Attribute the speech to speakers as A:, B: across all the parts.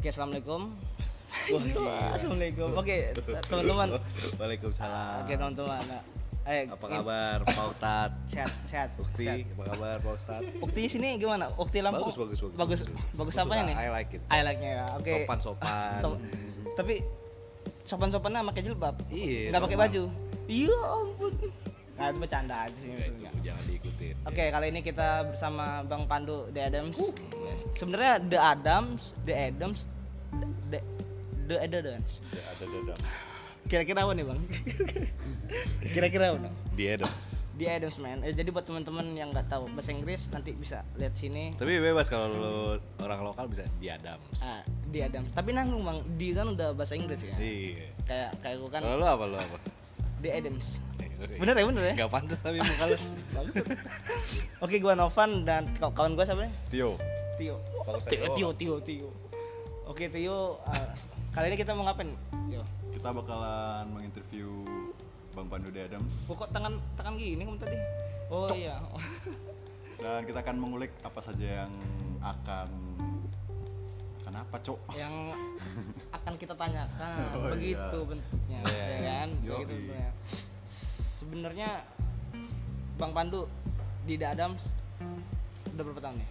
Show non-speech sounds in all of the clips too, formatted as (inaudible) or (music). A: Oke,
B: (laughs)
A: assalamualaikum. Wah, assalamualaikum. Oke, teman-teman.
B: Waalaikumsalam.
A: Oke, teman-teman. Nah, eh,
B: Apa
A: ini-
B: kabar Pak Ustad?
A: Sehat, sehat. sehat.
B: Ukti, apa kabar Pak Ustad?
A: Ukti sini gimana? Ukti Lampung.
B: Bagus, bagus, bagus.
A: Bagus,
B: Bagus.
A: bagus
B: Gua
A: apa
B: suka,
A: ini?
B: I like it.
A: I like-nya ya. Oke. (laughs)
B: Sopan-sopan.
A: Sop- Tapi sopan-sopannya pakai jilbab.
B: Iya,
A: Enggak pakai
B: sopan.
A: baju. Iya ampun. Nah, itu bercanda aja sih
B: Ya, itu
A: maksudnya.
B: jangan diikutin.
A: Oke, kali ini kita bersama Bang Pandu The Adams.
B: Uh.
A: Sebenarnya The Adams, The Adams, The The The Adams.
B: Ya, Ada dadang.
A: Kira-kira apa nih bang? (laughs) Kira-kira apa? Bang?
B: Di Adams.
A: Di Adams man. Eh, jadi buat teman-teman yang nggak tahu bahasa Inggris nanti bisa lihat sini.
B: Tapi bebas kalau lu orang lokal bisa di Adams.
A: Ah, di Adams. Tapi nanggung bang. Di kan udah bahasa Inggris ya.
B: Iya.
A: Kayak kayak gue kan
B: Kalau lu apa lu apa?
A: di Adams. Bener ya bener ya.
B: Gak pantas tapi muka lu.
A: Oke gua Novan dan kaw- kawan gua siapa nih?
B: Tio.
A: Tio.
B: Bagus aja,
A: Tio Tio Tio Tio. Oke Tio. ah, kali ini kita mau ngapain? Yo.
C: kita bakalan menginterview Bang Pandu D. Adams
A: Kok tangan tangan gini kamu tadi? Oh iya. (laughs)
C: dan kita akan mengulik apa saja yang akan kenapa cok
A: yang akan kita tanyakan
C: Oh, iya.
A: begitu bentuknya
C: Iya.
A: ya kan
C: Yoi.
A: begitu bentuknya. sebenarnya Bang Pandu di The Adams udah berapa tahun ya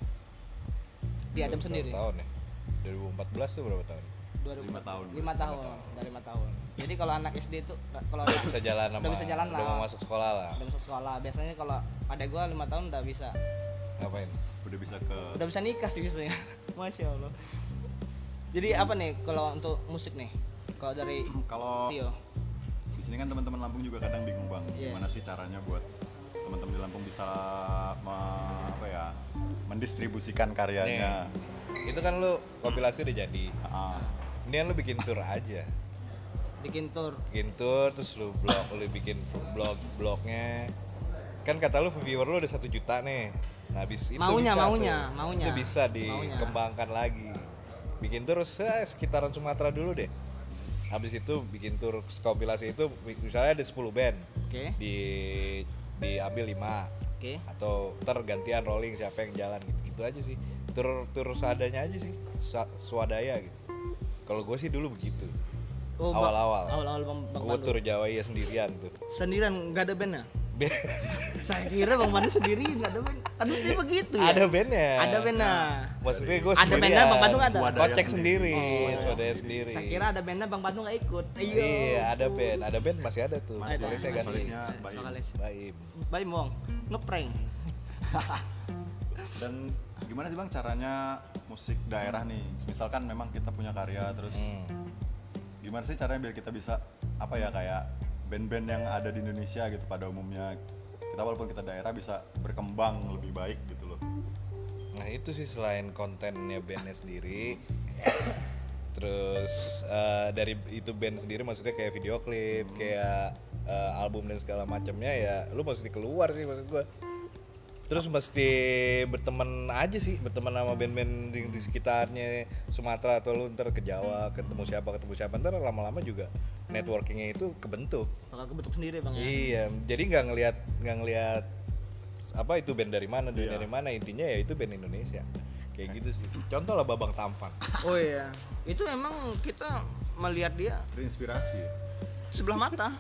A: di Adams (laughs) sendiri
B: Tahun ya. 2014 tuh berapa tahun?
A: dua ribu-
C: Lima tahun.
A: lima tahun udah lima tahun jadi kalau anak SD itu kalau anak-
B: Bisa jalan
A: Udah
B: sama
A: bisa jalan
B: udah
A: lah.
B: mau masuk sekolah lah.
A: udah masuk sekolah biasanya kalau ada gua lima tahun udah bisa
B: Ngapain?
C: udah bisa ke
A: udah bisa nikah sih biasanya (laughs) masya allah jadi apa nih kalau untuk musik nih kalau dari
C: kalau
B: Iya.
A: Tio
C: di sini kan teman-teman Lampung juga kadang bingung bang
A: Iya.
C: gimana sih caranya buat teman-teman di Lampung bisa me- apa ya
B: Iya.
C: mendistribusikan
A: Iya.
C: karyanya
B: Itu kan lu kompilasi udah jadi.
C: Ah,
B: Ini lu bikin tour aja.
A: bikin tour
B: bikin tour terus lu blog lu bikin blog blognya kan kata lu viewer lu udah satu juta nih nah habis itu
A: Maunya,
B: bisa
A: maunya,
B: tuh.
A: maunya.
B: itu bisa
A: Maunya.
B: dikembangkan lagi bikin tour se- sekitaran Sumatera dulu deh habis itu bikin tour kompilasi itu misalnya ada 10 band
A: oke
B: di diambil 5
A: oke
B: atau tergantian rolling siapa yang jalan gitu, gitu aja sih tour tour seadanya aja sih sa- swadaya gitu kalau gue sih dulu begitu
A: Oh, Bang-
B: awal-awal
A: awal-awal bang, bang
B: gue
A: Pandu.
B: tur Jawa iya sendirian tuh (laughs)
A: sendirian nggak ada bandnya
B: Be-
A: saya kira bang Pandu sendiri nggak ada band kan biasanya begitu ya
B: ada bandnya Nah.
A: ada bandnya
B: maksudnya gue
A: Ada bandnya, Bang Pandu ada. Oh,
B: kocek sendiri swadaya sendiri
A: saya kira ada bandnya bang Pandu nggak ikut iya
B: iya ada band ada band masih ada tuh
C: Masih,
B: Vokalis saya ganti
C: vokalisnya
A: Nah,
C: Baim.
A: Vokalis.
B: Baim
A: Bye Mong, ngeprank.
C: dan gimana sih bang caranya musik daerah nih misalkan memang kita punya karya terus gimana sih caranya biar kita bisa apa ya kayak band-band yang ada di Indonesia gitu pada umumnya kita walaupun kita daerah bisa berkembang lebih baik gitu loh
B: nah itu sih selain kontennya bandnya sendiri (coughs) terus eh, dari itu band sendiri maksudnya kayak video klip kayak eh, album dan segala macamnya ya lu mesti keluar sih maksud gue terus mesti berteman aja sih berteman sama band-band di, di sekitarnya Sumatera atau lu ntar ke Jawa ketemu siapa ketemu siapa ntar lama-lama juga networkingnya itu kebentuk
A: Bakal kebentuk sendiri bang ya.
B: Iya, jadi nggak ngelihat nggak ngelihat apa itu band dari mana, band
A: Iya.
B: dari mana intinya ya itu band Indonesia. Kayak gitu sih. Contoh lah Babang Tampan.
A: Oh iya, itu emang kita melihat dia
C: terinspirasi ya?
A: sebelah mata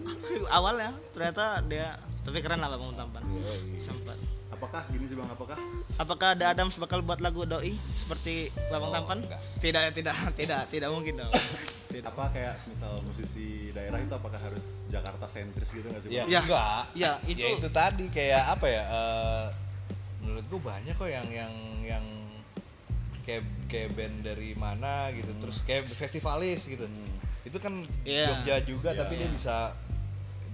A: (laughs) awalnya ternyata dia tapi keren lah bang Tampan sempat
C: apakah gini sih bang apakah
A: apakah ada Adams bakal buat lagu doi seperti Bang Tampan Oh, tidak tidak (laughs) tidak tidak mungkin dong (laughs) tidak
C: apa kayak misal musisi daerah itu apakah harus Jakarta sentris gitu nggak sih
B: Ya,
C: bang?
A: Ya,
B: enggak.
A: ya, itu-
B: ya itu tadi kayak apa ya? eh, menurut gua banyak kok yang yang yang kayak kayak band dari mana gitu. Terus kayak festivalis gitu. Itu kan
A: Hmm. Iya.
B: Jogja juga
C: Iya.
B: tapi dia bisa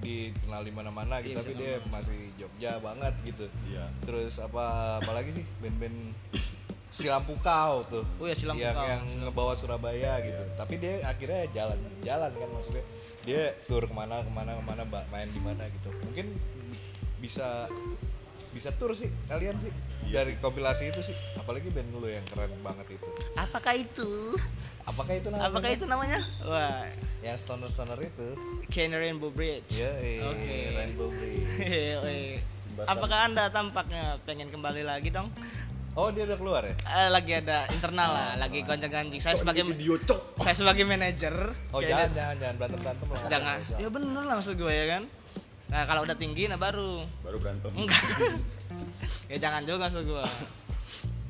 B: dikenal di mana-mana gitu,
A: Iya,
B: tapi
A: bisa
B: dia masih Jogja banget gitu.
C: Iya.
B: Terus apa apalagi sih band-band Silampukau tuh.
A: Oh iya, Silampukau.
B: Yang, yang ngebawa Surabaya gitu. Tapi dia akhirnya jalan jalan kan maksudnya. Dia tur kemana kemana kemana ba- main di mana gitu. Mungkin bisa bisa tur sih kalian sih
C: Iya
B: dari kompilasi itu sih. Apalagi band lu yang keren banget itu.
A: apakah itu
B: Apakah itu namanya?
A: apakah itu namanya wah
B: yang stoner-stoner itu?
A: Canary Rainbow Bridge (laughs)
C: Iya,
B: Ya,
A: Oke.
B: Rainbow Bridge.
A: Hehehe. apakah anda tampaknya pengen kembali lagi dong
B: Oh dia udah keluar ya?
A: Eh, lagi ada internal lah, lagi gonjang-ganjing. Saya sebagai
C: video cok
A: saya sebagai manajer
B: Oh iya.
A: kayaknya
B: jangan jangan jangan berantem berantem lah.
A: jangan. Ya bener lah maksud gue ya kan. Nah, kalau udah tinggi nah baru.
C: baru berantem
A: Enggak. (laughs) ya jangan juga maksud gue.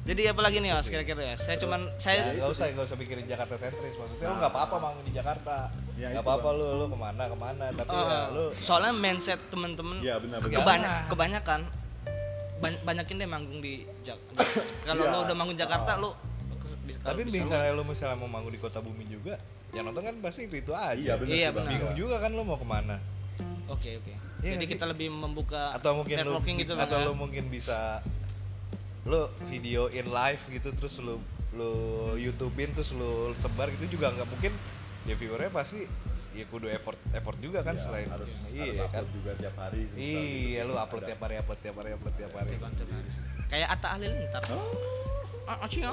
A: Jadi apalagi nih Os kira-kira ya? Saya cuman saya
B: Ya, gak usah gak usah pikirin Jakarta sentris maksudnya lu nggak apa-apa mang di Jakarta.
C: Ya,
B: nggak
C: itu,
B: apa-apa lu lu kemana kemana tapi
A: eh,
B: ya, lu
A: soalnya mindset temen-temen
C: Iya, benar, benar.
A: kebanyak
B: Jangan.
A: kebanyakan ban- banyakin deh manggung di Jakarta. kalau
C: Iya.
A: lo udah manggung Jakarta lo bisa
B: tapi
A: bisa lu-
B: misalnya lu misalnya mau manggung di kota bumi juga yang nonton kan pasti itu itu aja.
C: iya benar
A: Iya,
C: sih, Bang.
A: benar.
B: Bingung juga kan lu mau kemana?
A: Oke oke. Jadi
B: Iya nggak sih?
A: kita lebih membuka
B: atau mungkin lu,
A: networking gitu Bang,
B: atau
A: ya.
B: lu mungkin bisa lu videoin live gitu terus lu lu youtubein terus lu sebar gitu juga nggak mungkin ya viewernya pasti ya kudu effort effort juga kan
C: Ya,
B: selain
C: harus
B: iya
C: harus
B: kan
C: upload juga tiap hari semisal gitu
B: iya
C: sih.
B: lu upload tiap hari upload tiap hari upload tiap hari
A: Bang, coba. Gitu, kan? Kayak Atta Halilintar.
B: Oh.
A: Ah, ah, cio.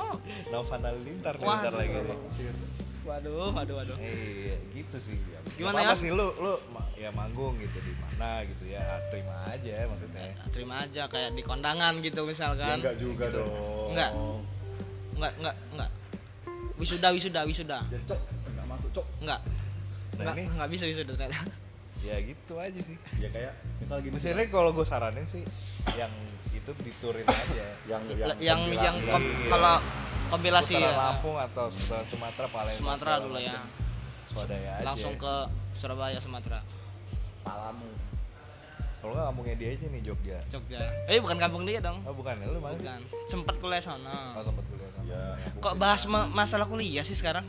B: Novan Halilintar nih,
A: Waduh.
B: ntar lagi nih.
A: Waduh, waduh, waduh.
B: iya gitu sih ya,
A: Gimana
B: apa-apa
A: ya?
B: sih lu lu ma- ya manggung gitu di mana gitu ya terima aja maksudnya
A: Terima aja kayak di kondangan gitu
C: Ya,
A: misalkan.
C: enggak juga dong
A: Enggak. Enggak, enggak, enggak. Wisuda, wisuda, wisuda.
C: ya cok enggak masuk cok
A: Enggak.
B: Nah,
A: Enggak,
B: ini-
A: enggak bisa wisuda ternyata.
B: ya gitu aja sih
C: ya kayak misal gini sih,
B: Misalnya kalau gue saranin sih yang itu diturin aja.
C: yang
A: Yang (laughs) yang,
C: kompilasi.
A: kom-
B: iya.
A: kalau kompilasi
B: Seputaran
A: ya,
B: Lampung atau seputaran Sumatera paling
A: Sumatera dulu ya.
B: Swadaya aja.
A: Langsung ke Surabaya, Sumatera,
C: palamu
B: Kalau nggak kampungnya dia aja nih Jogja.
A: Jogja. Eh bukan kampung dia dong.
B: Oh bukan, lu mana? sih?
A: Bukan. Sempat kuliah sana.
B: Oh sempat kuliah sama.
C: ya
A: Kok bahas ma- masalah kuliah sih sekarang?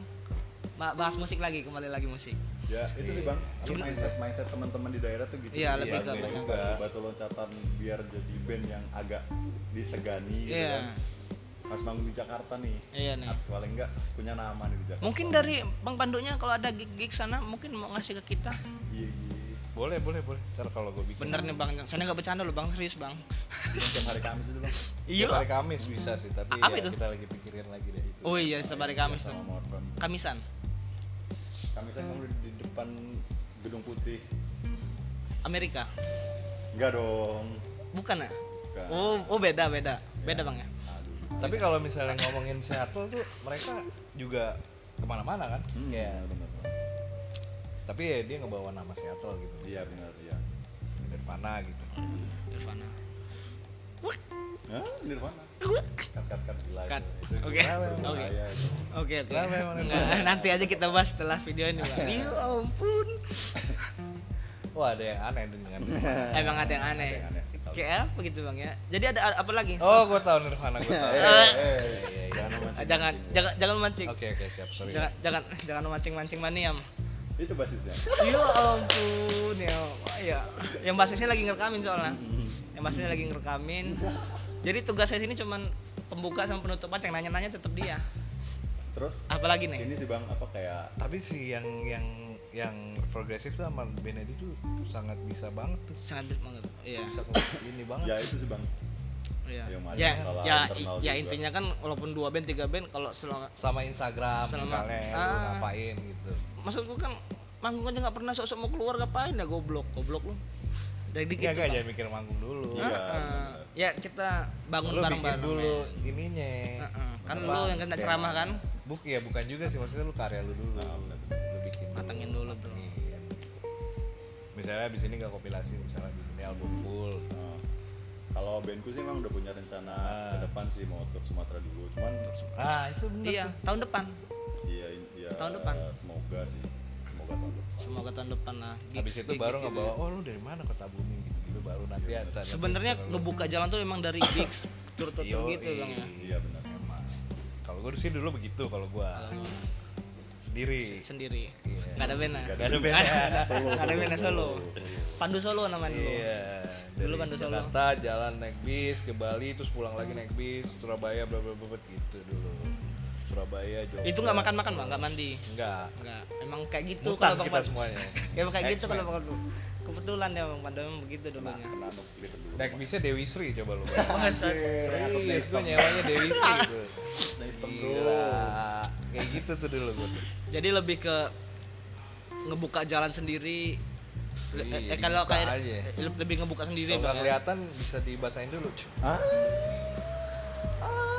A: Ba- bahas musik lagi, kembali lagi musik.
C: ya itu sih bang Apa, mindset mindset teman-teman di daerah tuh gitu
A: Iya, lebih ke
C: Batu-
A: banyak.
C: batu, batu loncatan biar jadi band yang agak disegani gitu
A: Iya.
C: kan harus bangun di Jakarta nih
A: Iya nih.
C: At- paling enggak punya nama nih di Jakarta
A: Mungkin dari Bang Pandunya kalau ada gig-gig sana mungkin mau ngasih ke kita.
C: iya iya
B: Boleh boleh boleh. Ntar kalau gue bikin.
A: Bener nih Bang, saya nggak bercanda loh Bang, serius Bang. (laughs)
C: Iya, tiap hari Kamis itu bang
B: Tiap
A: Iya.
B: Hari Kamis bisa sih, tapi
A: A- apa
B: ya
A: itu?
B: kita lagi pikirin lagi deh itu.
A: Oh iya, setiap hari Kamis tuh.
C: sama Morton
A: Kamisan.
C: Kamisnya kamu di- di depan gedung putih
A: Amerika.
C: enggak dong
A: Bukan ya?
C: Bukan.
A: Oh, oh beda, beda. Beda Bang ya.
B: Tapi kalau misalnya ngomongin Seattle tuh mereka juga kemana-mana kan?
A: Hmm,
C: iya benar Bang.
B: Tapi ya dia ngebawa nama Seattle gitu.
C: iya benar iya
B: Nirvana gitu.
A: Irvana. Wuk,
C: Hah? Nirvana
A: wuk.
C: kat kat kat gila
A: Cut.
C: itu.
A: Oke. Oke.
C: Berbahaya itu.
A: Oke, oke.
B: Kenapa emang
A: Nggak, Nanti aja kita bahas setelah video ini, Bang. Ya ampun.
B: Wah Oh, ada yang aneh dengan
A: Emang ada yang aneh.
C: yang aneh sih, kalau-
A: Kayak apa gitu, Bang ya? Jadi ada a- apa lagi?
B: Oh, iya, gue tahu Nirvana, gue tahu. iya,
A: Eh,
C: eh jangan memancing.
A: jangan jangan jangan mancing.
B: Oke, oke, siap. Sorry.
A: Jangan jangan jangan mancing-mancing maniam.
C: itu basisnya
A: ya ampun ya. Wah, ya. Yang basisnya lagi ngerekamin soalnya. Yang basisnya lagi ngerekamin. Jadi tugas saya sini cuman pembuka sama penutupan yang nanya-nanya tetap dia.
C: terus
A: Apalagi nih?
C: ini sih bang apa kayak
B: Tapi sih yang yang yang progresif tuh sama Benedi tuh sangat bisa banget tuh.
A: Sangat berat banget. Iya.
B: Bisa nge- ini banget.
C: ya itu sih bang
A: Iya.
C: yang ada
A: Ya,
C: masalah
A: ya,
C: internal
A: ya
C: juga.
A: intinya kan walaupun dua band tiga band kalau selama
B: Sama Instagram
A: Sama-
B: misalnya lu
A: ah.
B: ngapain gitu.
A: maksud gua kan manggung aja nggak pernah sok-sok mau keluar ngapain ya goblok goblok lu dari dikit Bang.
B: Enggak enggak Iya, jangan mikir manggung dulu.
A: Heeh. ya kita bangun
B: Lu bikin
A: bareng-bareng
B: dulu
A: men.
B: ininya.
A: Heeh. kan
B: Apa,
A: lu yang kena
B: skema.
A: ceramah kan
B: Buk ya bukan juga sih maksudnya lu karya lu dulu. Lu bikin dulu.
A: matangin dulu bro
B: Iya. Misalnya di sini nggak kompilasi, misalnya di sini album full.
C: Nah, kalau bandku sih emang udah punya rencana
A: Ah.
C: ke depan sih mau tur Sumatera dulu cuman
B: Ah, itu bener.
A: iya tahun depan
C: iya iya
A: Tahun depan.
C: semoga sih semoga tahun depan
A: semoga tahun depan lah Gigs-
B: habis itu
A: gigs
B: baru
A: gitu ya.
B: ngebawa oh lu dari mana kota bumi gitu gitu baru nanti ya tanya
A: sebenarnya
B: terus
A: ngebuka jalan tuh emang dari gigs tur-tur
B: Yo,
A: gitu
B: iya.
A: bang ya
C: iya benar
B: emang. kalau gue sih dulu begitu kalau gue
A: Oh.
B: sendiri
A: sendiri nggak ada band lah
B: gak Iya. ada band
A: ada
C: Solo,
A: nggak ada
C: solo,
A: band lah, solo pandu solo namanya dulu
B: iya
A: Dulu
B: Dari
A: kan udah solo.
B: Jakarta jalan naik bis ke Bali terus pulang lagi naik bis Surabaya bla bla bla bla, gitu dulu Surabaya Jogja
A: itu nggak makan makan bang nggak mandi
B: enggak
A: nggak emang kayak gitu
B: mutan
A: kalau bang
B: kita
A: Pandu.
B: semuanya
A: (laughs) kayak kayak gitu
B: X-Men.
A: kalau bang Pandu kebetulan ya bang pandu emang
B: Nah.
A: begitu dulunya
C: kena nuklir dulu
B: naik bisnya Dewi Sri coba lu
A: Wah, saya-
B: Serius gue nyewanya Dewi Sri tuh. Gila Kayak gitu tuh dulu gue
A: jadi lebih ke ngebuka jalan sendiri Le-
B: Iya,
A: eh, kalau
B: dibuka
A: kayak
B: aja.
A: le- lebih ngebuka sendiri
B: Kalau nggak
A: Bang, ya.
B: kelihatan bisa dibasahin dulu cuy
C: ah
A: ah